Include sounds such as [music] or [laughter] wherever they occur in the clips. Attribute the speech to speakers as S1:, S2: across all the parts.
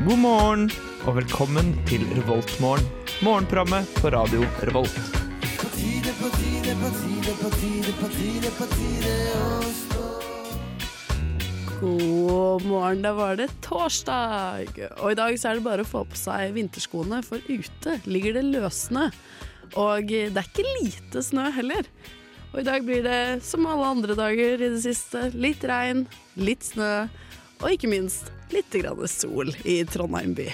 S1: morgen, og velkommen til Revoltmorgen. Morgenprogrammet på radio Revolt.
S2: God morgen, da var det torsdag. Og i dag så er det bare å få på seg vinterskoene, for ute ligger det løssnø. Og det er ikke lite snø heller. Og i dag blir det, som alle andre dager i det siste, litt regn, litt snø, og ikke minst litt grann sol i Trondheim by.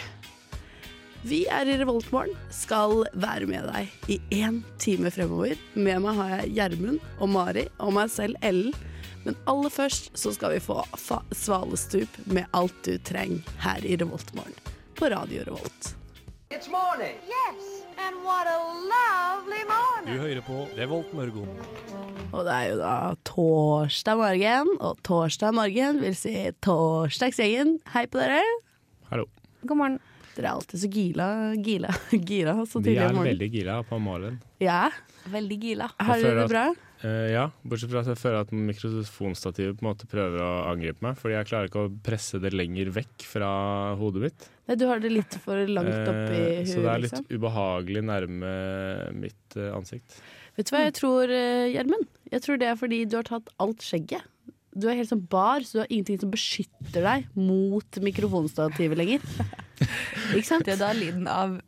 S2: Vi er i Revoltmorgen, skal være med deg i én time fremover. Med meg har jeg Gjermund og Mari og meg selv Ellen. Men aller først så skal vi få fa Svalestup med alt du trenger her i Revoltmorgen på Radio Revolt.
S3: It's morning.
S4: Yes, and what a lovely
S5: Du
S4: morning.
S5: hører på Revolt Mørgon.
S2: Og det er jo da torsdag morgen, og torsdag morgen vil si torsdagsgjengen. Hei på dere.
S5: Hallo.
S6: God morgen.
S2: Dere er alltid så gila, gila, [laughs] gira så
S5: De
S2: tidlig
S5: er
S2: om morgenen.
S5: veldig gira på morgenen.
S2: Ja.
S6: Veldig gila.
S2: Har
S5: Jeg
S2: dere
S5: føler
S2: det bra?
S5: Eh, ja, bortsett fra at jeg føler at mikrofonstativet på en måte prøver å angripe meg, fordi jeg klarer ikke å presse det lenger vekk fra hodet mitt.
S2: Nei, du har det litt for langt opp i
S5: Eh,
S2: huet,
S5: så det er litt
S2: liksom.
S5: ubehagelig nærme mitt eh, ansikt.
S2: Vet du hva
S6: Mm.
S2: jeg tror, eh, Gjermund? Jeg tror det er fordi du har tatt alt skjegget. Du er helt sånn bar, så du har ingenting som beskytter deg mot mikrofonstativet
S6: [laughs]
S2: lenger. Ikke sant?
S6: Det er da lyden av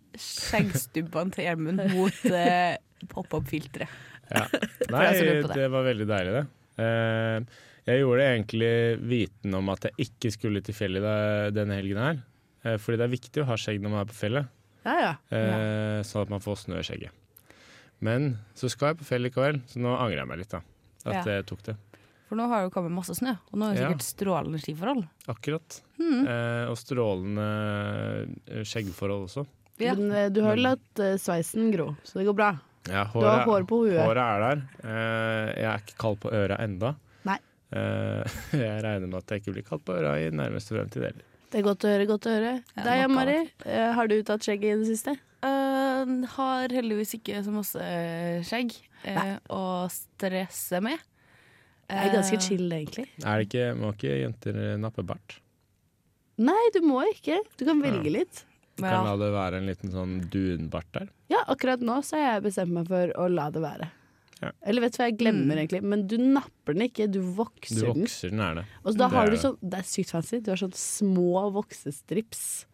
S6: skjeggstubbene til Gjermund mot eh, pop-up-filteret.
S5: Ja. Nei,
S6: deg som lurer på det.
S5: det var veldig deilig, det. Eh, jeg gjorde det egentlig viten om at jeg ikke skulle til fjellet da- denne helgen her. Eh, fordi det er viktig å ha skjegg når man er på fjellet.
S2: Ja, ja.
S5: Eh, Sånn at man får snø i skjegget. Men så skal jeg på fjellet likevel, så nå angrer jeg meg litt. da At
S6: Ja.
S5: jeg tok det.
S6: For nå har det jo kommet masse snø, og nå er det
S5: Ja.
S6: sikkert strålende skiforhold. Hmm.
S5: Akkurat.
S2: Mm.
S5: Eh, og strålende eh, skjeggforhold også.
S6: Ja.
S2: Men eh, du har jo latt eh, sveisen gro, så det går bra.
S5: Ja, håret,
S2: Du har hår på hodet.
S5: håret er der. Eh, jeg er ikke kald på øra enda.
S2: Nei.
S5: Eh, [laughs] jeg regner med at jeg ikke blir kald på øra i nærmeste fremtid heller.
S2: Det er godt å høre, godt å høre.
S6: Ja,
S2: Deg,
S6: nok
S2: Ann Mari, eh, har du tatt skjegget i det siste?
S6: Eh, har heldigvis ikke så masse skjegg eh,
S2: Nei.
S6: å stresse med.
S2: Det
S6: Eh.
S2: er ganske chill, egentlig.
S5: Er det ikke, Må ikke jenter nappe bart?
S2: Nei, du må ikke. Du kan velge litt.
S5: Du Kan la det være en liten sånn dunbart der.
S2: Ja, akkurat nå så har jeg bestemt meg for å la det være.
S5: Ja.
S2: Eller vet du hva, jeg glemmer
S6: Mm.
S2: egentlig, men du napper den ikke, du
S5: Du
S2: vokser den.
S5: vokser den erne
S2: Og så da
S5: Det
S2: har
S5: er
S2: du
S5: det.
S2: sånn, det er sykt fancy, du har sånn små voksestrips.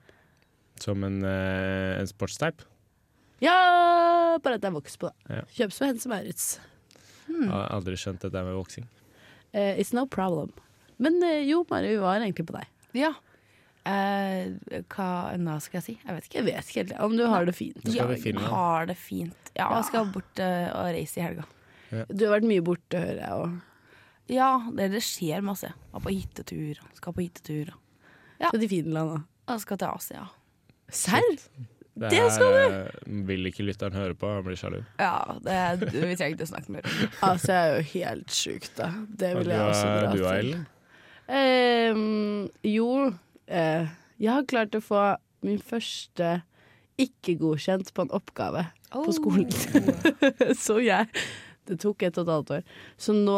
S5: som en, eh, en sportsteip.
S2: Ja, bare at det er voks på det.
S5: Ja.
S2: Kjøps for henne som er uts. Mm.
S5: Har aldri skjønt dette med voksing.
S2: Eh, it's no problem. Men eh, jo, Mari, vi var egentlig på deg.
S6: Ja. Eh, hva annet skal jeg si? Jeg vet ikke.
S2: Jeg vet ikke helt om du har det fint.
S5: Nå skal vi
S6: Jeg
S5: finne den.
S6: har det fint. Ja, jeg skal bort eh, og reise i helga.
S2: Du har vært mye borte, hører jeg. Og...
S6: Ja, det, det skjer masse. Jeg var på hyttetur, og skal på hyttetur. og- Ja.
S2: Til Finland og
S6: Og jeg skal til Asia.
S2: Serr?
S5: Det,
S2: Det
S5: her,
S2: skal
S5: eh, vil ikke lytteren høre på, han blir sjalu.
S6: Ja, det, vi trenger ikke å snakke mer om det.
S2: Altså, jeg er jo helt sjuk, da. Det vil
S5: Og du
S2: jeg også
S5: er,
S2: dra
S5: du er
S2: til.
S5: Ellen.
S2: Ehm, jo, eh, jeg har klart å få min første ikke-godkjent på en oppgave på skolen. [laughs] så jeg Det tok ett og et halvt år. Så nå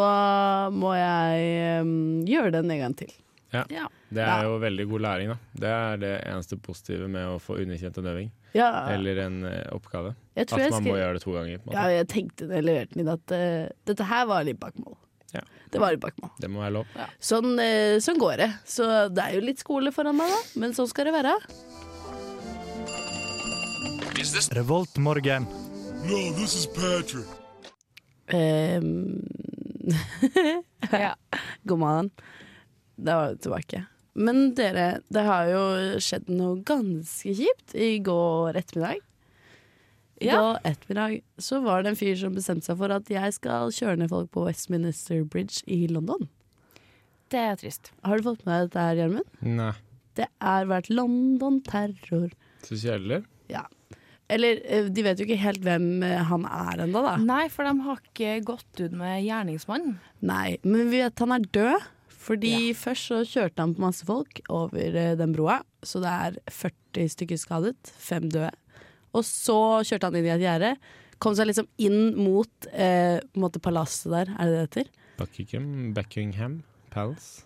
S2: må jeg ehm, gjøre den en gang til.
S6: Ja.
S5: Det
S2: Ja.
S5: er jo veldig god læring, da. Det er det eneste positive med å få underkjent en øving
S2: Ja,
S5: eller en eh, oppgave.
S2: jeg
S5: At
S2: tror jeg
S5: man må
S2: skrev
S5: gjøre det to ganger. På en
S2: ja,
S5: måte.
S2: jeg tenkte da jeg leverte den inn at eh, dette her var litt bakmål.
S5: Ja.
S2: Det var litt bakmål.
S5: Det må være lov.
S2: Sånn, eh, sånn går det. Så det er jo litt skole foran meg, da, men sånn skal det være.
S1: Revoltmorgen.
S2: Ehm, [laughs]
S6: Ja.
S2: God morgen. Da var det tilbake. Men dere, det har jo skjedd noe ganske kjipt i går ettermiddag. I
S6: Ja.
S2: går ettermiddag så var det en fyr som bestemte seg for at jeg skal kjøre ned folk på Westminster Bridge i London.
S6: Det er trist.
S2: Har du fått med deg dette her, Gjermund?
S5: Nei.
S2: Det er vært London-terror.
S5: Så kjedelig.
S2: Ja. Eller eh, de vet jo ikke helt hvem eh, han er ennå, da.
S6: Nei, for de har ikke gått ut med gjerningsmannen.
S2: Nei, men vi vet han er død. Fordi først så kjørte han på masse folk over eh, den broa, så det er 40 stykker skadet, fem døde. Og så kjørte han inn i et gjerde. Kom seg liksom inn mot eh, på en måte palasset der, er det det heter?
S5: Buckingham, Buckingham Palace.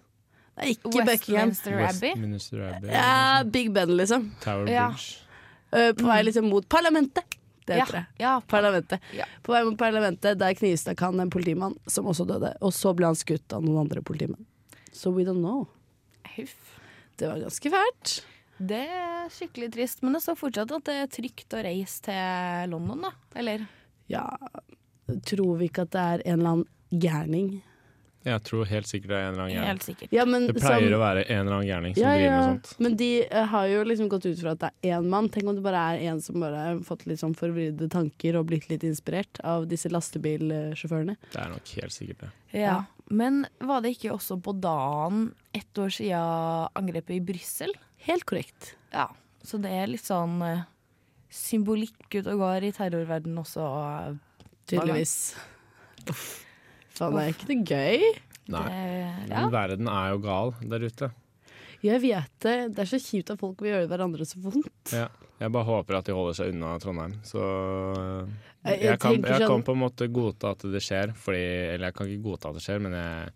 S2: Det er ikke Buckingham.
S6: Westminster Abbey.
S5: Westminster Abbey.
S2: Ja, Big Ben, liksom.
S5: Tower
S6: Ja.
S5: Bridge.
S2: Eh, på vei liksom mot parlamentet. Det
S6: Mm. Ja,
S2: heter det.
S6: ja,
S2: Parlamentet.
S6: Ja.
S2: På vei mot parlamentet, der knivstakk han en politimann som også døde. Og så ble han skutt av noen andre politimenn. So we don't know.
S6: Huff.
S2: Det var ganske fælt.
S6: Det er skikkelig trist, men det står fortsatt at det er trygt å reise til London, da. Eller?
S2: Ja, tror vi ikke at det er en eller annen gærning?
S5: Jeg tror helt sikkert det er en eller annen gærning.
S6: Helt sikkert.
S2: Ja, men,
S5: Det pleier
S2: som-
S5: å være en eller annen gærning som
S2: ja,
S5: driver med
S2: ja.
S5: sånt.
S2: Men de eh, har jo liksom gått ut fra at det er én mann. Tenk om det bare er en som bare har fått litt sånn forvridde tanker og blitt litt inspirert av disse lastebilsjåførene.
S5: Det er nok helt sikkert det.
S6: Ja. Men var det ikke også på dagen ett år siden angrepet i Brussel?
S2: Helt korrekt.
S6: Ja. Så det er litt sånn eh, symbolikk ut og går i terrorverdenen også.
S2: Tydeligvis. Uff. Faen, det er ikke noe gøy.
S5: Nei.
S6: Eh, ja.
S5: Men verden er jo gal der ute.
S2: Jeg vet det. Det er så kjipt at folk vil gjøre hverandre så vondt.
S5: Ja. Jeg bare håper at de holder seg unna Trondheim. Så øh,
S2: Jeg- jeg
S5: jeg kan,
S2: tenker
S5: jeg
S2: sånn-
S5: kan på en måte godta at det skjer, fordi Eller jeg kan ikke godta at det skjer, men jeg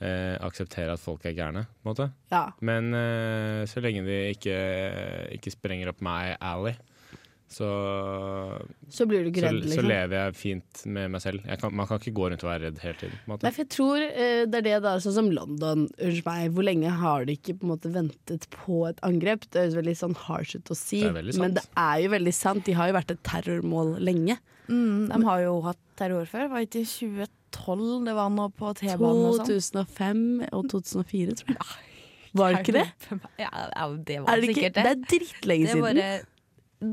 S5: eh, aksepterer at folk er gærne, på en måte.
S2: Ja.
S5: Men eh, så lenge de ikke, ikke sprenger opp meg alley, så,
S2: Så blir du ikke
S5: så,
S2: redd,
S5: så
S2: liksom.
S5: lever jeg fint med meg selv. Jeg kan, man kan ikke gå rundt og være redd hele tiden. På en måte.
S2: Nei, for jeg tror eh, det er det da, sånn som London, unnskyld meg, hvor lenge har de ikke på en måte ventet på et angrep? Det høres veldig sånn harsh ut å si,
S5: Det er veldig sant.
S2: men det er jo veldig sant. De har jo vært et terrormål lenge.
S6: Mm, de har jo hatt terror før. Var ikke i 2012 det var noe på T-banen og sånn?
S2: 2005 og 2004, tror jeg. Var det ikke det?
S6: Ja, ja, det var
S2: Er det, ikke?
S6: sikkert
S2: det
S6: det.
S2: er dritlenge
S6: Det er
S2: siden.
S6: bare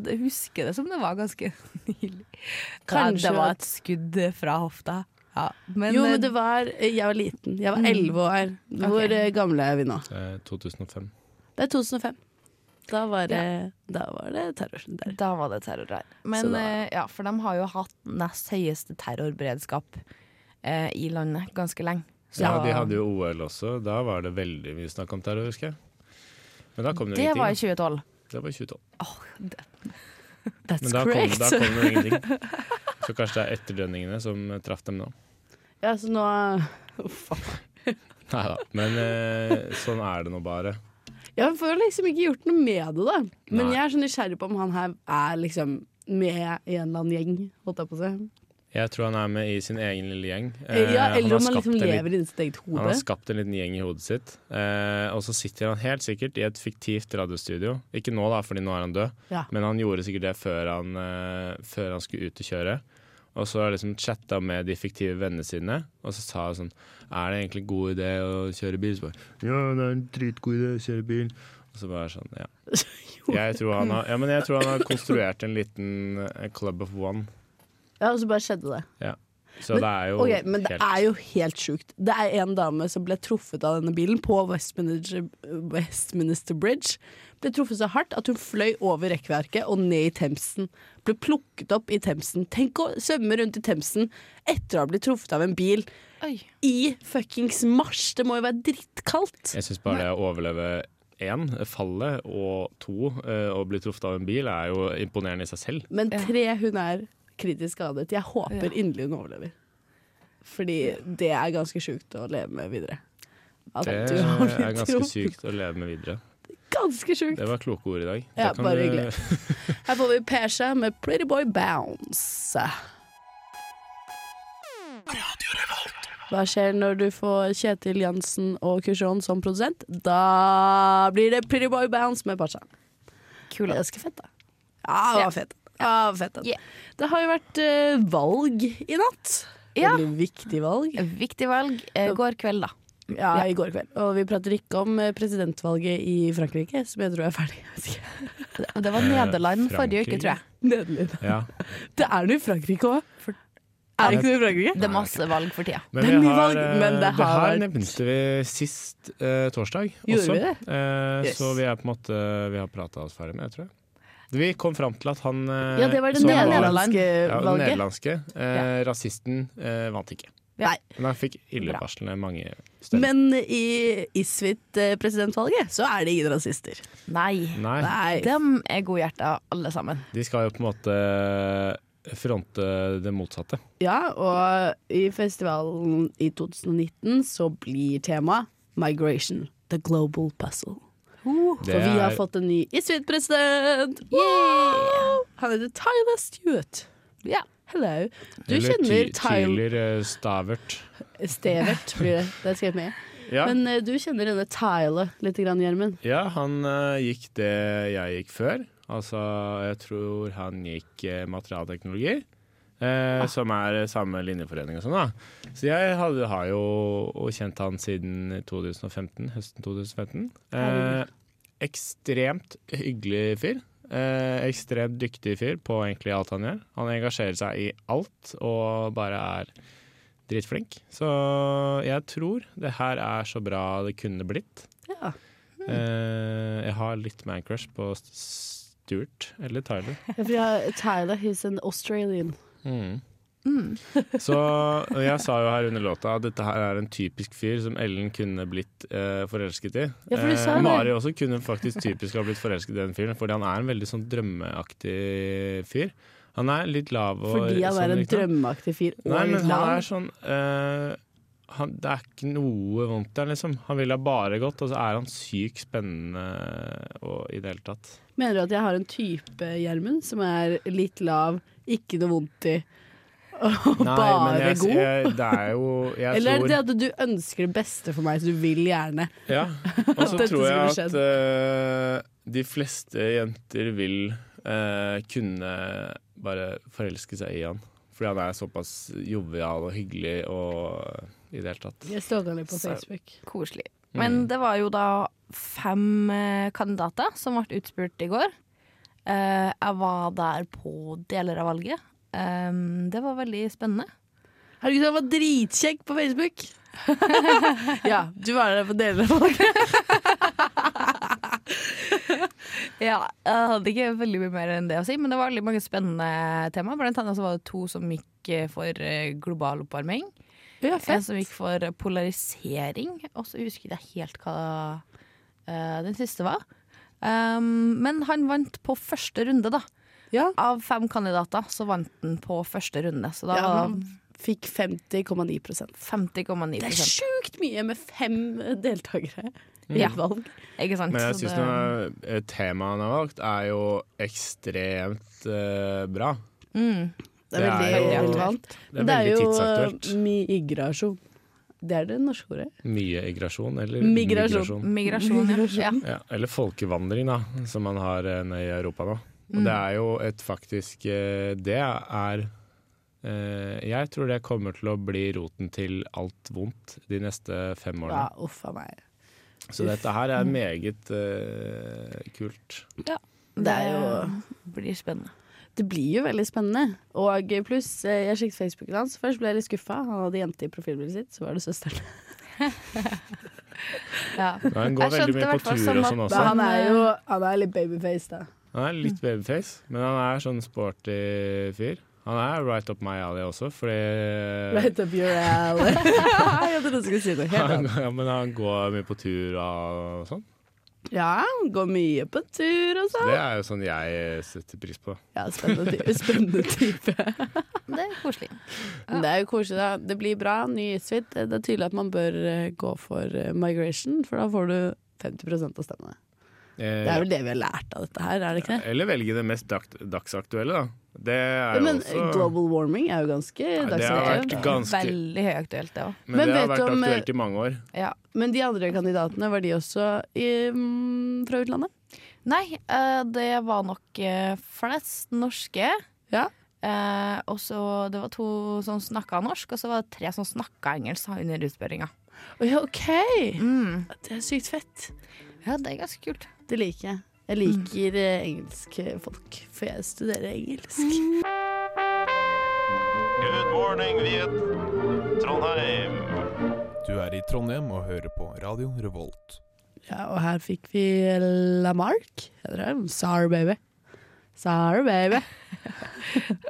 S6: jeg husker det som det var ganske [laughs] nylig.
S2: Kanskje
S6: Kanskje det var
S2: at-
S6: et skudd fra hofta. Ja, men,
S2: Jo, men
S6: eh,
S2: det var eh, Jeg var liten. Jeg var elleve år. Hvor
S6: Ok.
S2: eh, gamle er vi nå?
S5: Eh, 2005.
S2: Det er 2005. Da var det, da var det terror der.
S6: Da var det terror her. Men
S2: Så da-
S6: eh, ja, for de har jo hatt nest høyeste terrorberedskap eh, i landet ganske lenge. Så
S5: Ja, de hadde jo OL også. Da var det veldig mye snakk om terror, husker jeg. Men da kom det,
S6: Det
S5: ingenting.
S6: var i 2012.
S5: Det var i 2012.
S2: That's
S5: Men da kom,
S2: correct.
S5: da kom det ingenting. Så kanskje det er etterdønningene som eh, traff dem nå.
S2: Ja, så nå Uff, faen.
S5: Nei da. Men eh, sånn er det nå bare.
S2: Jeg får liksom ikke gjort noe med det, da. Men
S5: Nei.
S2: jeg er så nysgjerrig på om han her er liksom med i en eller annen gjeng, holdt jeg på å si.
S5: Jeg tror han er med i sin egen lille gjeng. Eh,
S2: Ja,
S5: han
S2: eller
S5: har
S2: om han
S5: skapt
S2: liksom
S5: en liten-
S2: lever inni sitt eget
S5: Han har
S2: hode.
S5: skapt en liten gjeng i hodet sitt. Eh, og så sitter han helt sikkert i et fiktivt radiostudio. Ikke nå, da, fordi nå er han død,
S2: Ja.
S5: men han gjorde sikkert det før han, eh, før han skulle ut og kjøre. Og så har han liksom chatta med de fiktive vennene sine, og så sa han sånn Er det egentlig god idé å kjøre bil? Så bare Ja, det er en dritgod idé å kjøre bil. Og så bare sånn,
S2: [laughs]
S5: ja. Jeg tror han har, ja, men jeg tror han har konstruert en liten eh, club of one.
S2: Ja, og så bare skjedde det.
S5: Så det er jo
S2: Ok, Men det
S5: helt
S2: er jo helt sjukt. Det er en dame som ble truffet av denne bilen på Westminster, Westminster Bridge. Ble truffet så hardt at hun fløy over rekkverket og ned i Themsen. Ble plukket opp i Themsen. Tenk å svømme rundt i Themsen etter å ha blitt truffet av en bil
S6: Oi.
S2: i fuckings mars! Det må jo være drittkaldt!
S5: Jeg syns bare det å overleve én, fallet, og to, eh, å bli truffet av en bil, er jo imponerende i seg selv.
S2: Men
S6: Ja.
S2: tre, hun er kritisk skadet. Jeg håper
S6: Ja.
S2: inderlig hun overlever. Fordi det er ganske sjukt å leve med videre. At
S5: Det
S2: du har blitt
S5: er ganske
S2: truffet.
S5: sykt å leve med videre.
S2: Ganske sjukt!
S5: Det var kloke ord i dag.
S2: Ja,
S5: Da kan
S2: bare
S5: du-
S2: hyggelig. Her får vi Pesha med Pretty Boy Bounce. Hva skjer når du får Kjetil Jansen og Kusjon som produsent? Da blir det Pretty Boy Bounce med Pasha. Det er
S6: Kula.
S2: ganske fett, da. Ja, det
S6: Ja.
S2: var fett. Ja, fett da.
S6: Yeah.
S2: Det har jo vært eh, valg i natt.
S6: Ja.
S2: Veldig viktig valg.
S6: Viktig valg eh, går kveld, da.
S2: Ja, i går kveld. Og vi prater ikke om eh, presidentvalget i Frankrike, som jeg tror er ferdig. Jeg vet ikke.
S6: Det var Nederland forrige
S5: Eh,
S6: uke,
S5: Frankrike.
S2: [laughs]
S6: tror jeg.
S2: Nederlig.
S5: Ja.
S2: [laughs] Det er noe i Frankrike òg.
S6: For-
S2: Er det ikke noe i Frankrike?
S6: Det er masse valg for tida.
S5: Men
S2: Det er
S5: vi
S2: mye
S5: har,
S2: valg,
S5: eh,
S2: men det
S5: det
S2: har
S5: her
S2: vært-
S5: nevnte vi sist eh, torsdag
S2: Gjorde
S5: også.
S2: vi det?
S5: Eh,
S2: Yes.
S5: Så vi er på en måte Vi har prata oss ferdig med, tror jeg. Vi kom fram til at han eh,
S2: Ja, det var det
S5: som
S2: nederlandske
S5: ja, den
S2: valget.
S5: nederlandske eh, rasisten eh, vant ikke.
S2: Nei.
S5: Men han fikk
S6: Bra.
S5: illevarslende mange stemmer.
S2: Men i Isfit-presidentvalget så er det ingen rasister.
S6: Nei.
S5: Nei,
S2: Nei.
S6: Dem er godhjerta, alle sammen.
S5: de skal jo på en måte eh, fronte det motsatte.
S2: Ja, og i festivalen i 2019 så blir tema migration. The Global Puzzle.
S5: Det
S2: Oh, For vi har
S5: er-
S2: fått en ny Isfjord-president! Wow! Han heter Tyler Stewart.
S6: Ja.
S2: Hello. Du
S5: Eller
S2: kjenner
S5: Ty-
S2: Tyler
S5: Tyler eh, Stavert.
S2: Stevert, blir det. Det er skrevet med.
S5: [laughs] Ja.
S2: Men eh, du kjenner denne Tyler litt, grann, Gjermund.
S5: Ja, han eh, gikk det jeg gikk før. Altså, jeg tror han gikk eh, materialteknologi. Eh, Som er eh, samme linjeforening og sånn, da. Så jeg hadde, har jo og kjent han siden 2015, høsten 2015. Eh,
S2: Herregud.
S5: ekstremt hyggelig fyr. Eh, ekstremt dyktig fyr på egentlig alt han gjør. Han engasjerer seg i alt og bare er dritflink. Så jeg tror det her er så bra det kunne blitt.
S2: Ja.
S5: Eh, jeg har litt mancrush på St- Stuart eller Tyler.
S2: Ja, For jeg har Tyler, he's an Australian. Mm.
S5: Så og jeg sa jo her under låta at dette her er en typisk fyr som Ellen kunne blitt eh, forelsket i.
S2: Ja, for du sa
S5: Eh,
S2: det.
S5: Mari også kunne faktisk typisk ha blitt forelsket i den fyren, fordi han er en veldig sånn drømmeaktig fyr. Han er litt lav og
S2: Fordi han er
S5: sånn,
S2: en
S5: ikke sant?
S2: drømmeaktig fyr og
S5: Nei,
S2: litt
S5: men han
S2: lav.
S5: er sånn eh, han, Det er ikke noe vondt der, liksom. Han ville ha bare gått, og så er han sykt spennende og, i det hele tatt.
S2: Mener du at jeg har en type, Gjermund, som er litt lav, ikke noe vondt i, og [laughs] bare
S5: men jeg,
S2: god?
S5: Jeg, det er jo jeg
S2: Eller er
S5: tror,
S2: det at du ønsker det beste for meg, så du vil gjerne [laughs]
S5: Ja. Og så
S2: dette
S5: tror jeg
S2: skulle
S5: at eh, de fleste jenter vil eh, kunne bare forelske seg i han. Fordi han er såpass jovial og hyggelig og i det hele tatt.
S2: Jeg stalker litt på
S6: Så-
S2: Facebook.
S6: Koselig. Men det var jo da fem eh, kandidater som ble utspurt i går. Eh, jeg var der på deler av valget. Eh, det var veldig spennende.
S2: Herregud, han var dritkjekk på Facebook! [laughs] ja, du var der for å dele det.
S6: Ja, jeg hadde ikke veldig mye mer enn det å si, men det var veldig mange spennende tema. Blant annet så var det to som gikk eh, for eh, global oppvarming.
S2: Ja,
S6: En som gikk for polarisering, og så husker jeg ikke helt hva eh, den siste var. Um, men han vant på første runde, da.
S2: Ja.
S6: Av fem kandidater så vant han på første runde, så da
S2: Ja,
S6: var
S2: han fikk 50,9
S6: det 50,9
S2: Det er sjukt mye med fem deltakere i
S6: Ja.
S2: et valg.
S6: Ikke sant?
S5: Men jeg
S6: Så
S5: syns
S6: det,
S5: temaet han har valgt, er jo ekstremt eh, bra.
S2: Mm. Det er
S5: Det er
S2: veldig,
S5: jo-
S2: veldig vant.
S5: Det er
S2: Men det er
S5: veldig
S2: jo
S5: tidsaktuelt.
S2: eh, migrasjon. Det er det norske ordet.
S5: Mye egrasjon, eller
S2: Migrasjon.
S6: migrasjon, [laughs] ja. ja.
S5: Ja, eller folkevandring, da, som man har eh, nede i Europa nå. Og det
S6: Mm.
S5: er jo et faktisk eh, Det er eh, Jeg tror det kommer til å bli roten til alt vondt de neste fem
S2: Ja,
S5: årene.
S2: uff a meg.
S5: Så dette her er meget eh, kult.
S2: Det er jo
S6: blir spennende.
S2: Det blir jo veldig spennende. Og pluss, eh, jeg sjekket Facebooken hans. Først ble jeg litt skuffa. Han hadde jente i profilbildet sitt, så var det søsteren.
S6: Ja.
S5: Men han går
S6: Jeg
S5: veldig mye
S6: skjønte i hvert
S5: på
S6: fall
S5: tur
S6: som
S5: og
S6: at
S5: sånn
S2: Men eh,
S5: også.
S2: han er jo han er litt babyface, da.
S5: Han er litt babyface, men han er sånn sporty fyr. Han er right up my alley også, fordi
S2: Right up your alley. [laughs] jeg trodde du skulle si noe helt
S5: [laughs]
S6: [laughs]
S5: han,
S2: annet.
S5: ja, men han går mye på tur og sånn.
S2: Ja, han går mye på tur og sånn.
S5: Det er jo sånn jeg setter pris på.
S2: Ja, spennende type. [laughs] Spennende type.
S6: Det er koselig.
S2: [laughs] Men Det er jo koselig, da. Det blir bra. Ny suite. Det er tydelig at man bør eh, gå for eh, migration, for da får du 50 av stemmene. Det er vel det vi har lært av dette her, er det ikke det?
S5: Eh, Eller velge det mest dag dagsaktuelle, da. Det er jo
S2: Men
S5: også
S2: global warming er jo ganske
S5: det har
S2: dagsaktuelt.
S5: vært ganske
S6: Veldig høyaktuelt, det òg.
S5: Men,
S2: Men
S5: det har
S2: vet
S5: vært
S2: du om, eh,
S5: aktuelt i mange år.
S6: Ja.
S2: Men de andre kandidatene, var de også i, mm, fra utlandet?
S6: Nei, eh, det var nok eh, flest norske.
S2: Ja.
S6: Eh, og så Det var to som snakka norsk, og så var det tre som snakka engelsk under utspørringa.
S2: Å ja, OK!
S6: Mm.
S2: Det er sykt fett.
S6: Ja, det er ganske kult.
S2: Det liker jeg. Jeg liker eh, engelske folk, for jeg studerer engelsk.
S3: Good morning, Viet Trondheim.
S7: Du er i Trondheim og hører på Radio Revolt.
S2: Ja, og her fikk vi Lamarck. Heter det? Sorry, baby. Sorry, baby.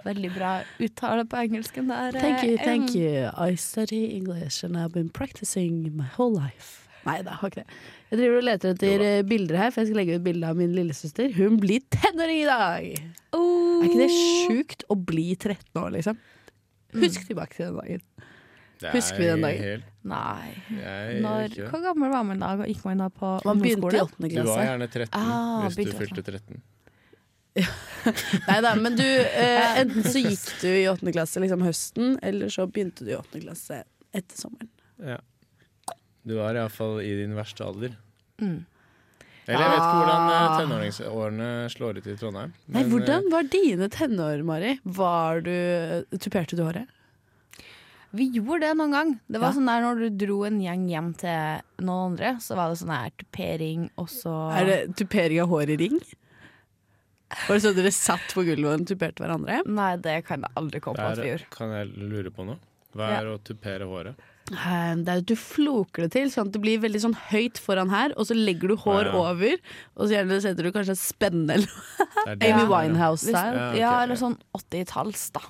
S6: Veldig bra uttale på engelsken der. eh,
S2: Thank you, thank
S6: Ellen.
S2: you. I study English and I've been practicing my whole life. Nei da, har ikke det. Jeg driver og leter etter eh, bilder her, for jeg skal legge ut bilde av min lillesøster. Hun blir tenåring i dag! Mm. Er ikke det sjukt å bli 13 år, liksom? Husk tilbake til den dagen.
S5: Det
S2: Husker vi den dagen?
S5: Helt,
S6: Nei.
S5: jeg,
S6: Når,
S5: ikke.
S6: hvor gammel var man da? Gikk man da på
S2: Man begynte i
S6: ungdomsskole?
S2: åttende
S5: Du var
S2: klasse.
S5: gjerne 13
S6: Ah,
S5: hvis du
S6: begynte
S5: fylte 13.
S2: Nei da, men du [laughs] eh, Enten så gikk du i åttende klasse liksom høsten, eller så begynte du i åttende klasse etter sommeren.
S5: Ja. Du var iallfall i din verste alder.
S6: Mm.
S5: Eller jeg vet ikke hvordan eh,
S6: Ah.
S5: tenåringsårene slår ut i Trondheim.
S2: Nei,
S5: men, eh,
S2: hvordan var dine tenår, Mari? Var du eh, Tuperte du håret?
S6: Vi gjorde det noen gang. Det var
S2: Ja.
S6: sånn der Når du dro en gjeng hjem til noen andre, så var det sånn her tupering, og så
S2: Er det tupering av hår i ring? Var det så dere satt på gulvet og tuperte hverandre?
S6: Nei, det kan jeg aldri komme på
S5: eh,
S6: at vi
S5: der
S6: gjorde.
S5: kan jeg lure på noe. Hva
S6: Ja.
S5: er å tupere håret?
S2: Eh, Det er at du floker det til, sånn at det blir veldig sånn høyt foran her, og så legger du hår
S5: Ja.
S2: over, og så gjerne setter du kanskje et spenne eller noe.
S5: Det er
S2: Ah, Amy
S5: det jeg lurer på.
S6: Hvis,
S2: Winehouse-style.
S5: Ja, ok,
S6: ja,
S5: ja.
S6: eller sånn 80-talls, da.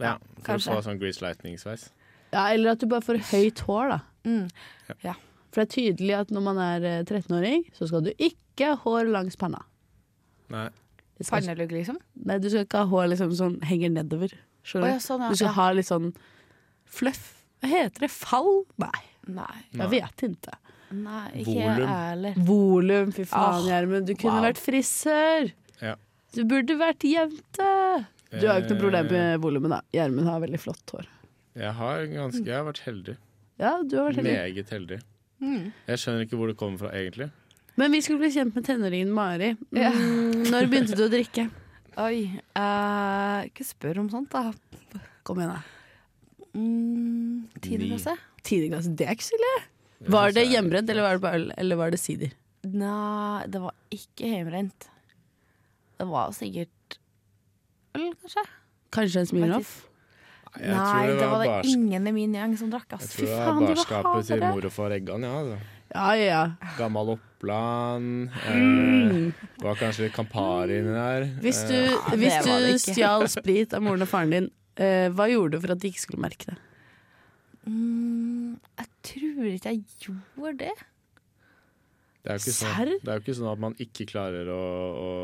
S5: Ja, for
S6: kanskje.
S5: å få sånn Grease Lightning-sveis.
S2: Ja, eller at du bare får høyt hår, da.
S6: Mm. Ja.
S2: For det er tydelig at når man er eh, 13-åring, så skal du ikke ha hår langs panna.
S5: Nei.
S2: Det skal,
S6: Pannelugg, liksom.
S2: nei, du skal ikke ha hår liksom sånn henger nedover.
S6: Å
S2: Skjønner
S6: ja,
S2: du?
S6: sånn, ja.
S2: Du skal
S6: ja.
S2: ha litt sånn fluff. Hva heter det? Fall? Nei,
S6: Nei.
S5: Nei.
S2: jeg vet ikke.
S6: Nei, ikke jeg
S5: Volum.
S6: heller.
S2: Volum, fy faen,
S6: Ah,
S2: Gjermund. Du kunne
S6: wow.
S2: vært frisør.
S5: Ja. Eh,
S2: Du burde vært jente. Du har jo ikke noe problem med volumet, da. Gjermund har veldig flott hår.
S5: Jeg har ganske Jeg har vært heldig.
S6: Mm.
S2: Ja, du har vært heldig.
S5: Meget heldig. Jeg skjønner ikke hvor det kommer fra, egentlig.
S2: Men vi skulle bli kjent med tenåringen Mari. Mm,
S6: Ja.
S2: [laughs] Når begynte du å drikke?
S6: Oi. eh, ikke spør om sånt, da.
S2: Kom igjen, da.
S6: Mm, Tiende
S5: Ni.
S6: klasse?
S2: Tiende klasse. Det er ikke så ille.
S5: Jeg
S2: Var
S5: synes
S2: det
S5: jeg-
S2: hjemmebrent, eller var det på øl, eller var det sider?
S6: Nei, det var ikke hjemmebrent. Det var sikkert øl, kanskje?
S2: Kanskje en Smirnoff?
S5: Nei, jeg
S6: Nei,
S5: tror
S6: det var det
S5: barsk-
S6: ingen i min gjeng som drakk.
S5: Jeg
S6: Ass.
S5: tror
S6: Fy
S5: det var
S6: faen, de var
S5: barskapet til
S6: hatere.
S5: mor og far Eggan, ja. Altså.
S2: Ja, ja, ja.
S5: Gammal Oppland. Eh,
S6: Mm.
S5: det var kanskje litt Campari inni der.
S2: Hvis du,
S5: Eh,
S6: det
S2: hvis
S6: var det
S2: du
S6: ikke.
S2: stjal sprit av moren og faren din, eh, hva gjorde du for at de ikke skulle merke
S5: [laughs]
S2: det?
S6: Mm, jeg tror ikke jeg gjorde det.
S5: det, er jo ikke sånn,
S2: Serr?
S5: det er jo ikke sånn at man ikke klarer å, å,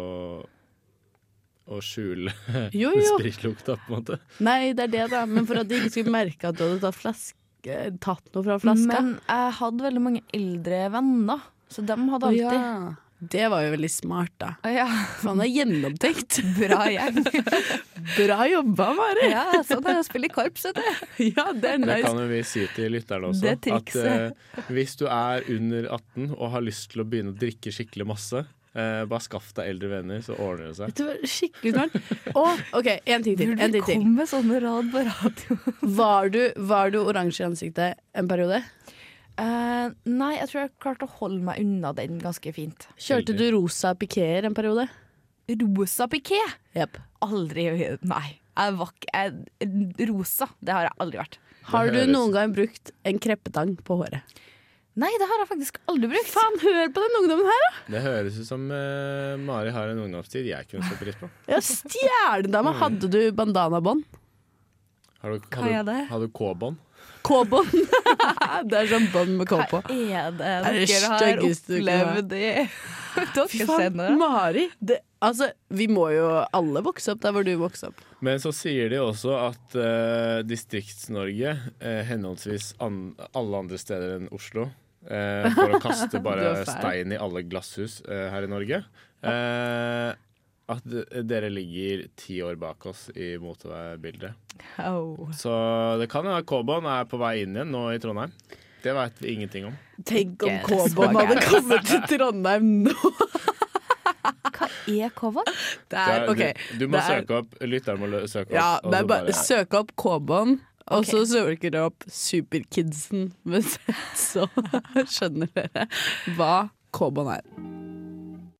S5: å skjule
S2: Jo,
S5: [laughs]
S2: jo.
S5: spritlukta, på en måte.
S2: Nei, det er det, da. Men for at de ikke skulle merke at du hadde tatt, flaske, tatt noe fra flaska.
S6: Men jeg hadde veldig mange eldre venner, så dem hadde
S2: Å,
S6: alltid
S2: ja. Det var jo veldig smart, da.
S6: Å ja.
S2: Faen, det er
S6: [laughs]
S2: gjennomtenkt.
S6: Bra gjeng.
S2: Bra jobba, Mari.
S6: ja, sånn er det å spille i korps, vet du.
S2: Ja, det er
S5: Det
S2: nice.
S5: kan jo vi si til lytterne også.
S6: Det trikset.
S5: At eh, hvis du er under 18 og har lyst til å begynne å drikke skikkelig masse, eh, bare skaff deg eldre venner, så ordner det seg.
S2: Det var skikkelig smart. Og, OK, en ting til. En
S6: Burde
S2: ting til.
S6: komme med sånne råd på radio.
S2: Var du, var du oransje i ansiktet en periode?
S6: Eh, nei, jeg tror jeg klarte å holde meg unna den ganske fint.
S2: Kjørte du rosa pikéer en periode?
S6: Rosa piké!
S2: Jepp.
S6: Aldri Nei. Jeg var ikke jeg- Rosa, det har jeg aldri vært.
S2: Har du
S5: høres-
S2: noen gang brukt en kreppetang på håret?
S6: Nei, det har jeg faktisk aldri brukt.
S2: Faen, hør på den ungdommen her, da!
S5: Det høres ut som eh, Mari har en ungdomstid jeg kunne sett pris på.
S2: Ja, Stjernedama! Hadde du bandanabånd?
S5: Har du,
S6: Hva er
S5: har du,
S6: det?
S5: har du K-bånd?
S2: K-bånd? [laughs] det er sånn bånd med K på.
S6: Hva er det
S2: er det
S6: dere har
S2: styggeste du kan ha.
S6: opplevd i
S2: Fy
S6: [laughs] Dere
S2: faen,
S6: sender
S2: Mari! Det, altså, vi må jo alle vokse opp der hvor du vokste opp.
S5: Men så sier de også at eh, Distrikts-Norge, eh, henholdsvis an alle andre steder enn Oslo, eh, for å kaste
S2: [laughs] Du
S5: bare
S2: er fæl.
S5: stein i alle glasshus eh, her i Norge eh, At d- dere ligger ti år bak oss i motorveibildet.
S6: oh.
S5: Så det kan hende K-bånd er på vei inn igjen nå i Trondheim. Det veit vi ingenting om.
S2: Tenk om
S6: Ikke
S2: K-bånd
S6: så
S2: hadde
S6: gærent.
S2: kommet til Trondheim nå!
S6: Hva er cover?
S2: Det
S5: Det
S2: er,
S5: er-
S2: ok,
S5: du, du må
S2: det er-
S5: søke opp Lytteren må lø- søke opp.
S2: Ja,
S5: og
S2: det er
S5: så
S2: bare søk opp K-bånd, og
S6: Ok.
S2: så søker dere opp Superkidsen [laughs] med Z, så skjønner dere hva K-bånd er.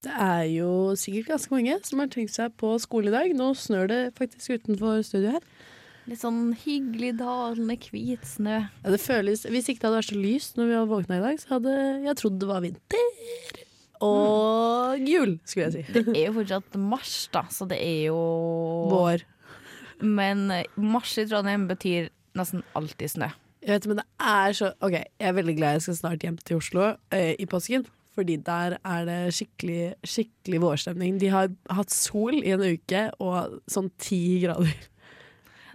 S2: Det er jo sikkert ganske mange som har tenkt seg på skole i dag. Nå snør det faktisk utenfor studio her.
S6: Litt sånn hyggelig dalende hvit snø.
S2: Ja, det føles, hvis ikke det hadde vært så lyst når vi hadde våkna i dag, så hadde jeg trodd det var vinter. Og jul, skulle jeg si.
S6: Det er jo fortsatt mars, da, så det er jo
S2: Vår.
S6: Men eh, mars i Trondheim betyr nesten alltid snø.
S2: Jeg vet, men det er så Ok, jeg er veldig glad jeg skal snart hjem til Oslo eh, i påsken. Fordi der er det skikkelig, skikkelig vårstemning. De har hatt sol i en uke og sånn ti grader.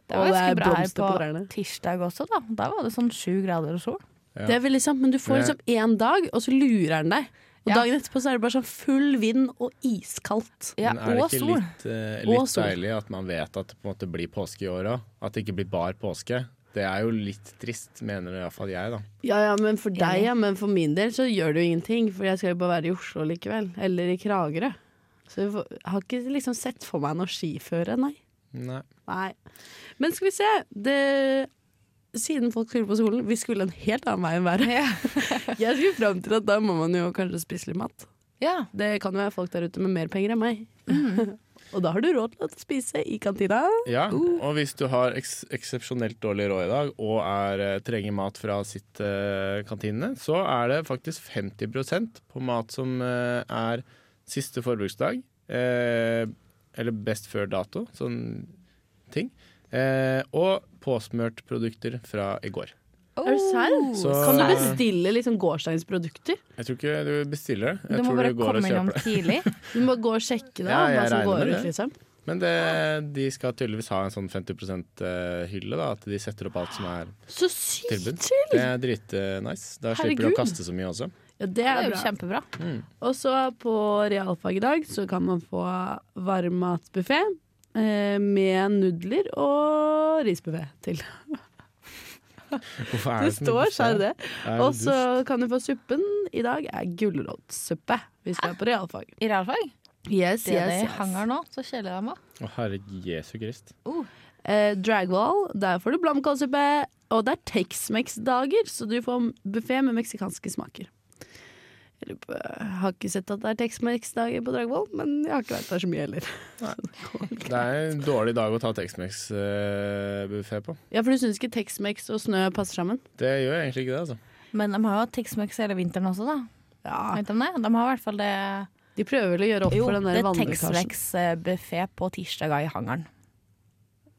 S6: Det
S2: Og
S6: var
S2: det
S6: ganske
S2: er
S6: bra her
S2: blomster på
S6: på
S2: trærne.
S6: tirsdag også, da. Da var det sånn sju grader og sol.
S5: Ja.
S2: Det er vel liksom, men du får
S5: Det-
S2: liksom én dag, og så lurer den deg. Og
S6: Ja.
S2: dagen etterpå så er det bare sånn full vind og iskaldt.
S6: Ja,
S5: Men er det
S6: og
S5: ikke
S6: sol.
S5: litt, eh,
S2: Og
S5: litt
S2: sol.
S5: deilig at man vet at det på en måte blir påske i år òg? At det ikke blir bar påske? Det er jo litt trist, mener iallfall jeg, da.
S2: Ja, ja, men for deg,
S6: Enig.
S2: ja, men for min del så gjør det jo ingenting, for jeg skal jo bare være i Oslo likevel. Eller i Kragerø. Så jeg får- har ikke liksom sett for meg noe skiføre, nei.
S5: Nei.
S2: nei. Men skal vi se. Det, siden folk skulle på skolen, vi skulle en helt annen vei enn været. [laughs]
S6: Ja.
S2: Jeg skulle fram til at da må man jo kanskje spise litt mat.
S6: ja.
S2: Det kan jo være folk der ute med mer penger enn meg. [laughs] Og da har du råd til å spise i kantina.
S5: Ja,
S6: Uh.
S5: og hvis du har eks eksepsjonelt dårlig råd i dag og er, eh, trenger mat fra sitt eh, kantine, så er det faktisk 50 på mat som eh, er siste forbruksdag, eh, eller best før dato, sånn ting. Eh, og påsmørt produkter fra i går.
S6: Oh.
S2: Er du serr?
S5: Så-
S2: Kan du bestille liksom gårsdagens produkter?
S5: Jeg tror ikke du bestiller det.
S6: Du
S5: Jeg
S6: må
S5: tror
S6: bare
S5: du går og
S6: komme innom
S5: kjøper det.
S6: [laughs] tidlig.
S2: Du må gå og sjekke det,
S5: Ja, jeg
S2: hva som
S5: regner
S2: går
S5: med
S2: ut,
S5: det.
S2: liksom.
S5: Men det, de skal tydeligvis ha en sånn 50 %-hylle, da. At de setter opp alt som er
S2: Så sykt
S5: tilbud.
S2: chill!
S5: Det er dritnice. Da slipper du
S2: Herregud.
S5: å kaste så mye også.
S2: Ja, det
S6: Det
S2: er
S6: er jo
S2: bra.
S6: kjempebra.
S2: Og så på realfag i dag så kan man få varmmatbuffé eh, med nudler og risbuffé til.
S5: [laughs] Hvorfor er
S2: Det
S5: så mye
S2: står,
S5: buffet?
S2: sa det.
S5: Det er jo
S2: Og så
S5: dust.
S2: kan du få suppen i dag er gulrotsuppe, hvis du er på realfag.
S6: I realfag.
S2: Yes,
S6: Det er det
S2: yes,
S6: i
S2: yes.
S6: hangaren nå, så kjeler jeg meg.
S5: Å, herregud, Jesu Krist.
S2: Eh, Dragwall, der får du blomkålsuppe. Og det er Tex-Mex-dager, så du får buffé med meksikanske smaker. Jeg lurer på- jeg har ikke sett at det er Tex-Mex-dager på Dragwall, men jeg har ikke vært der så mye heller.
S5: Det er en dårlig dag å ta Tex-Mex-buffé på.
S2: Ja, for du syns ikke Tex-Mex og snø passer sammen?
S5: Det gjør egentlig ikke det, altså.
S6: Men de har jo hatt Tex-Mex hele vinteren også, da.
S2: Ja.
S6: Vet du om det? De har i hvert fall det
S2: De prøver vel å gjøre opp
S6: Jo,
S2: for den
S6: det
S2: der
S6: er
S2: vannlekkasjen.
S6: Tex-Mex-buffé på tirsdager i hangaren.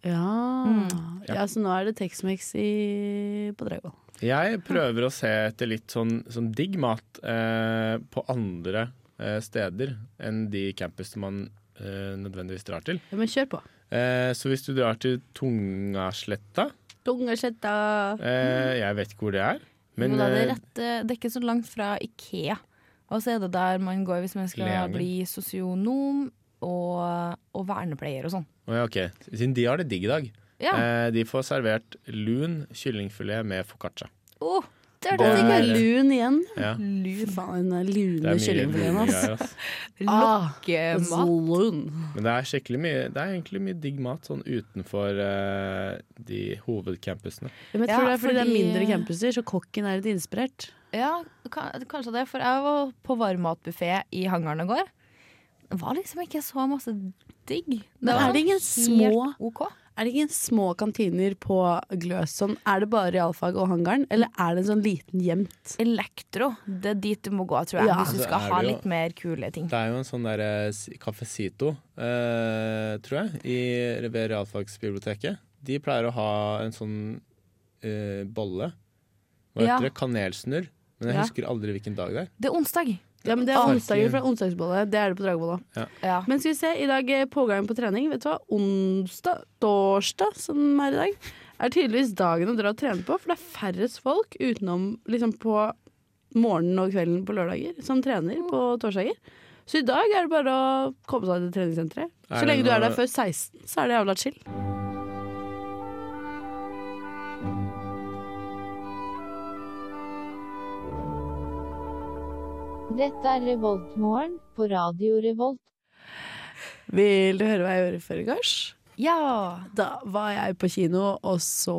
S2: Ja.
S6: Mm.
S2: ja, så nå er det Tex-Mex i- på Dragvoll.
S5: Jeg prøver å se etter litt sånn, sånn digg mat eh, på andre eh, steder enn de campusene man eh, nødvendigvis drar til.
S2: Ja, men kjør på.
S5: Eh, så hvis du drar til Tungasletta
S2: Tungasletta.
S5: eh, Jeg vet ikke hvor det er, men
S6: Men da Mm. er det,
S5: eh,
S6: rett, eh, det er ikke så langt fra Ikea. Og så er det der man går hvis man skal
S5: Leangen.
S6: bli sosionom og, og vernepleier og sånn.
S5: å ja, ok. Siden de har det digg i dag.
S6: Ja.
S5: Eh, de får servert lun kyllingfilet med foccaccia.
S6: Åh, det
S5: Det
S6: hørtes
S2: Hun
S6: ikke
S2: er
S5: er-
S2: lun igjen.
S5: Ja.
S2: Fy faen, den lune
S5: Det er mye
S2: kyllingfileten
S5: lune
S2: hans.
S5: greier. ass.
S6: Ah,
S2: så
S6: lokkemat.
S2: lun.
S5: Men det er skikkelig mye Det er egentlig mye digg mat sånn utenfor eh, de hovedcampusene.
S2: Ja, men jeg
S6: Ja,
S2: tror det er fordi det er
S6: fordi-
S2: mindre campuser, så kokken er litt inspirert.
S6: Ja, ka- kanskje det. For jeg var på varmmatbuffé i hangaren i går. Det var liksom ikke så masse digg.
S2: Men
S6: var
S2: er det ingen
S6: sånn
S2: små-
S6: helt OK.
S2: Er det ikke små kantiner på Gløs sånn? Er det bare realfag og hangaren, eller er det en sånn liten gjemt?
S6: Elektro, det er dit du må gå, tror jeg.
S2: Ja.
S6: Hvis du
S5: Så
S6: skal
S5: er
S6: ha
S5: det jo-
S6: litt mer kule ting.
S5: Det er jo en sånn der eh, s- Café Sito, eh, tror jeg, i, ved realfagsbiblioteket. De pleier å ha en sånn eh, bolle. Hva heter
S6: Ja.
S5: det? Kanelsnurr. Men jeg
S6: Ja.
S5: husker aldri hvilken dag det er.
S6: Det er onsdag.
S2: Ja, men det er
S5: Farken.
S2: onsdager fra onsdagsbolle. Det er det på Dragvoll òg.
S6: Ja.
S2: Men skal vi se, i dag er pågang på trening. Vet du hva? Onsdag, torsdag, som er i dag, er tydeligvis dagen å dra og trene på, for det er færrest folk utenom liksom på morgenen og kvelden på lørdager som trener på torsdager. Så i dag er det bare å komme seg til treningssenteret.
S5: Er det
S2: Så lenge du er
S5: noe-
S2: der før 16, så er det jævla chill.
S8: Dette er Revoltmorgen på Radio Revolt.
S2: Vil du høre hva jeg gjorde før i gårs?
S6: ja.
S2: Da var jeg på kino og så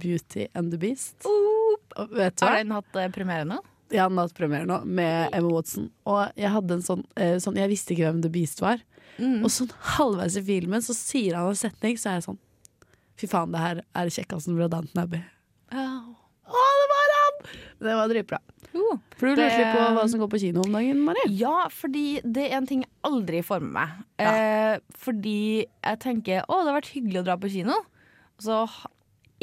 S2: Beauty and the Beast. Og Vet du hva?
S6: Har den hatt eh, premiere nå?
S2: Jeg hadde hatt premiere nå med Emma Watson, og jeg hadde en sånn, eh, sånn Jeg visste ikke hvem The Beast var. Og sånn halvveis i filmen så sier han en setning, så er jeg sånn Fy faen, det her er kjekkasen fra Downton Abbey.
S6: Ja.
S2: Å, det var han! Det var dritbra.
S6: Jo.
S2: For du
S6: Det-
S2: lurte litt på hva som går på kino om dagen, Mari?
S6: Ja, fordi det er en ting jeg aldri får med meg. Eh, fordi jeg tenker å, det har vært hyggelig å dra på kino. Så ha-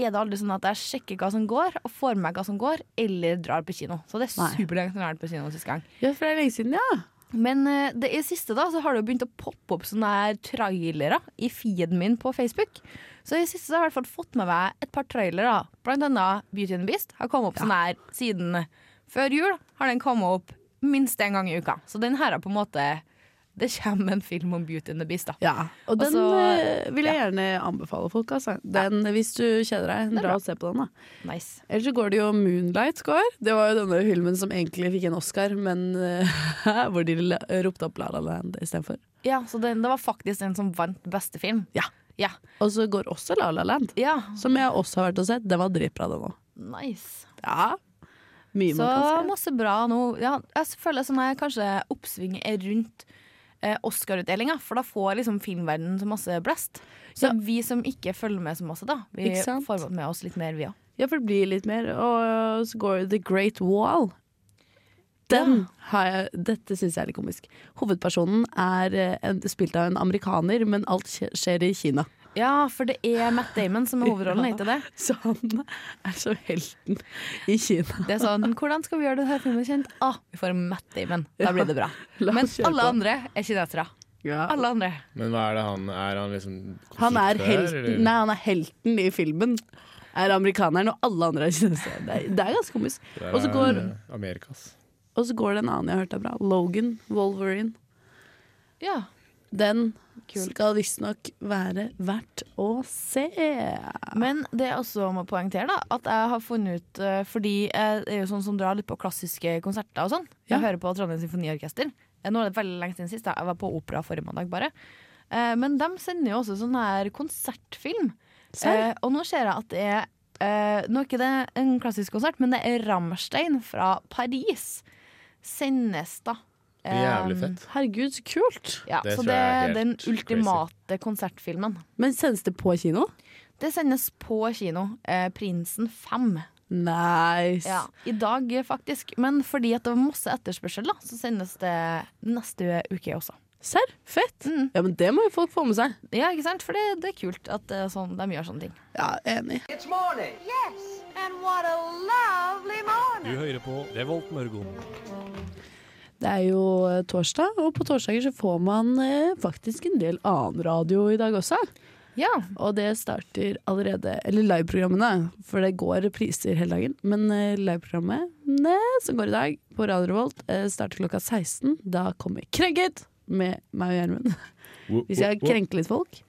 S6: er det aldri sånn at jeg sjekker hva som går, og får med meg hva som går, eller drar på kino. Så det er
S2: Nei.
S6: superlenge siden jeg har vært på kino sist gang.
S2: Ja, for det er lenge siden, ja.
S6: Men eh, det i siste da, så har det jo begynt å poppe opp sånne her trailere i feeden min på Facebook. Så i siste så har jeg i hvert fall fått med meg et par trailere. da. Blant annet Beauty and the Beast har kommet opp sånn her siden før jul. har den kommet opp minst én gang i uka. Så den her er på en måte Det kommer en film om Beauty and the Beast, da.
S2: Ja, og den
S6: Altså,
S2: eh, vil jeg gjerne anbefale folk. Altså. Den, Hvis du kjeder deg, dra og se på den. da
S6: Nice.
S2: Ellers så går det jo Moonlight går. Det var jo denne filmen som egentlig fikk en Oscar, men eh, [laughs] hvor de la- ropte opp La La Land istedenfor.
S6: Ja, så den, det var faktisk den som vant beste film.
S2: Ja.
S6: Ja.
S2: Og så går også La La Land,
S6: ja.
S2: som jeg også har vært og sett. Den var dritbra, den òg.
S6: Nice.
S2: Ja. Mye
S6: Så
S2: man kan se.
S6: masse bra nå. Ja, jeg føler sånn her kanskje oppsvinget er rundt eh, Oscar-utdelinga, for da får liksom filmverdenen så masse blest. Så
S2: Ja.
S6: vi som ikke følger med så masse, da, vi
S2: Ikke sant?
S6: får med oss litt mer, vi òg.
S2: Ja, for det blir litt mer. Og så går The Great Wall. Den har jeg, dette syns jeg er litt komisk. Hovedpersonen er eh, en, spilt av en amerikaner, men alt skje- skjer i Kina. [laughs]
S6: Ja, for det er Matt Damon som er hovedrollen, heter det.
S2: Så han er så helten i Kina.
S6: Det er sånn, Hvordan skal vi gjøre denne filmen kjent? Ah, vi får Matt Damon. Da blir det bra.
S2: [laughs] La
S6: Men
S2: oss kjøre
S6: alle
S2: på.
S6: andre er kinesere.
S2: Ja.
S6: Alle andre.
S5: Men hva er det han er? Han liksom
S2: Han er
S5: konstruktør,
S2: helten
S5: eller?
S2: Nei, han er helten i filmen. Er amerikaneren, og alle andre er kinesere. Det, er- det er ganske komisk.
S5: Det er
S2: Og så går,
S5: eh, Amerikas.
S2: og så går det en annen jeg har hørt er bra. Logan Wolverine.
S6: Ja.
S2: Den skal visstnok være verdt å se.
S6: Men det jeg også må poengtere, da, at jeg har funnet ut eh, Fordi jeg er jo sånn som drar litt på klassiske konserter og sånn.
S2: Ja.
S6: Jeg hører på Trondheim Symfoniorkester. Eh, Nå er det veldig lenge siden sist. Da. Jeg var på opera forrige mandag, bare. Eh, Men de sender jo også sånn her konsertfilm.
S2: Serr?
S6: Eh, Og nå ser jeg at det er eh, Nå er ikke det en klassisk konsert, men det er Rammstein fra Paris. Sendes, da.
S5: Det er Jævlig
S6: Eh,
S5: fett.
S2: Herregud, så kult!
S6: Ja,
S5: Det
S6: så
S5: tror
S6: det
S5: jeg er
S6: er den
S5: helt
S6: ultimate konsertfilmen.
S2: Men sendes det på kino?
S6: Det sendes på kino. Eh, 'Prinsen 5'.
S2: Nice!
S6: Ja, I dag, eh, faktisk. Men fordi at det var masse etterspørsel, da, så sendes det neste uke også.
S2: Serr? Fett!
S6: Mm.
S2: Ja, men det må jo folk få med seg.
S6: Ja, ikke sant? For det, det er kult at eh, sånn, de gjør sånne ting.
S2: Ja, enig.
S4: Yes, and what a lovely morning.
S7: Du hører på Revolt Mørgon.
S2: Det er jo eh, torsdag, og på torsdager så får man eh, faktisk en del annen radio i dag også.
S6: Ja,
S2: Og det starter allerede Eller liveprogrammene, for det går repriser hele dagen. Men eh, liveprogrammene som går i dag på Radio Revolt, eh, starter klokka 16. Da kommer Krenket med meg og Gjermund. Vi skal krenke litt folk.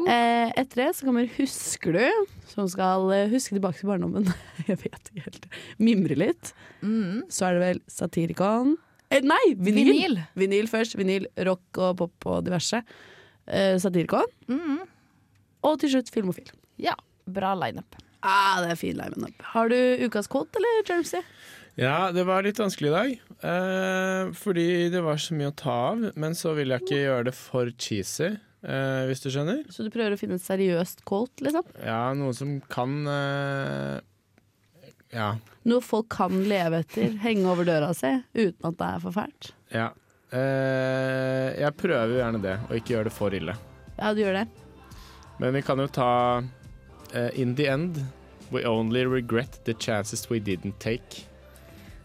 S2: Eh, etter det så kommer Husker du, som skal eh, huske tilbake til barndommen. [laughs] Jeg vet ikke helt. Mimre litt. Så er det vel Satirikon. Eh, nei, vinyl. vinyl!
S6: Mm. Vinyl.
S2: først. Vinyl, rock og pop og diverse. Eh, Satirikon. Og til slutt Filmofil.
S6: ja. Bra lineup.
S2: Ah, det er fin line-up. Har du ukas kvote, eller, Jermsey?
S5: Ja, det var litt vanskelig i dag. eh, fordi det var så mye å ta av. Men så ville jeg ikke gjøre det for cheesy, eh, hvis du skjønner.
S2: Så du prøver å finne et seriøst quote, liksom?
S5: Ja, noe som kan eh, Ja.
S2: Noe folk kan leve etter, henge over døra si, uten at det er for fælt?
S5: ja. Eh, jeg prøver jo gjerne det, og ikke gjøre det for ille.
S2: Ja, du gjør det.
S5: Men vi kan jo ta eh, In the end, we only regret the chances we didn't take.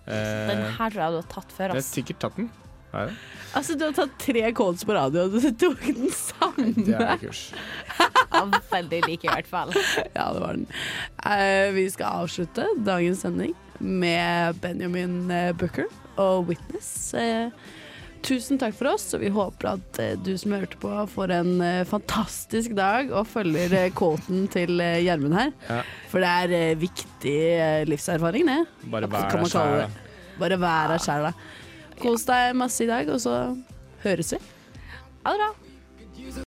S5: Eh,
S6: Den her tror jeg du har tatt før.
S5: jeg har
S6: Ass.
S5: sikkert tatt den. Har jeg
S2: Altså, du har tatt tre quotes på radio, og du tok den
S5: det? Det
S2: samme!
S5: er kurs.
S6: Ja, veldig like, i hvert fall.
S2: [laughs] Ja, det var den. Eh, vi skal avslutte dagens sending med Benjamin eh, Booker og Witness. Eh, tusen takk for oss, og vi håper at eh, du som hørte på, får en eh, fantastisk dag og følger eh, quoten til eh, Gjermund her.
S5: Ja.
S2: For det er eh, viktig eh, livserfaring, det.
S5: Bare
S2: Kan
S5: vær
S2: man
S5: deg
S2: kalle
S5: sjæl.
S2: det. Bare vær deg sjæl, da. Kos deg masse i dag, og så høres vi.
S6: Ha det bra.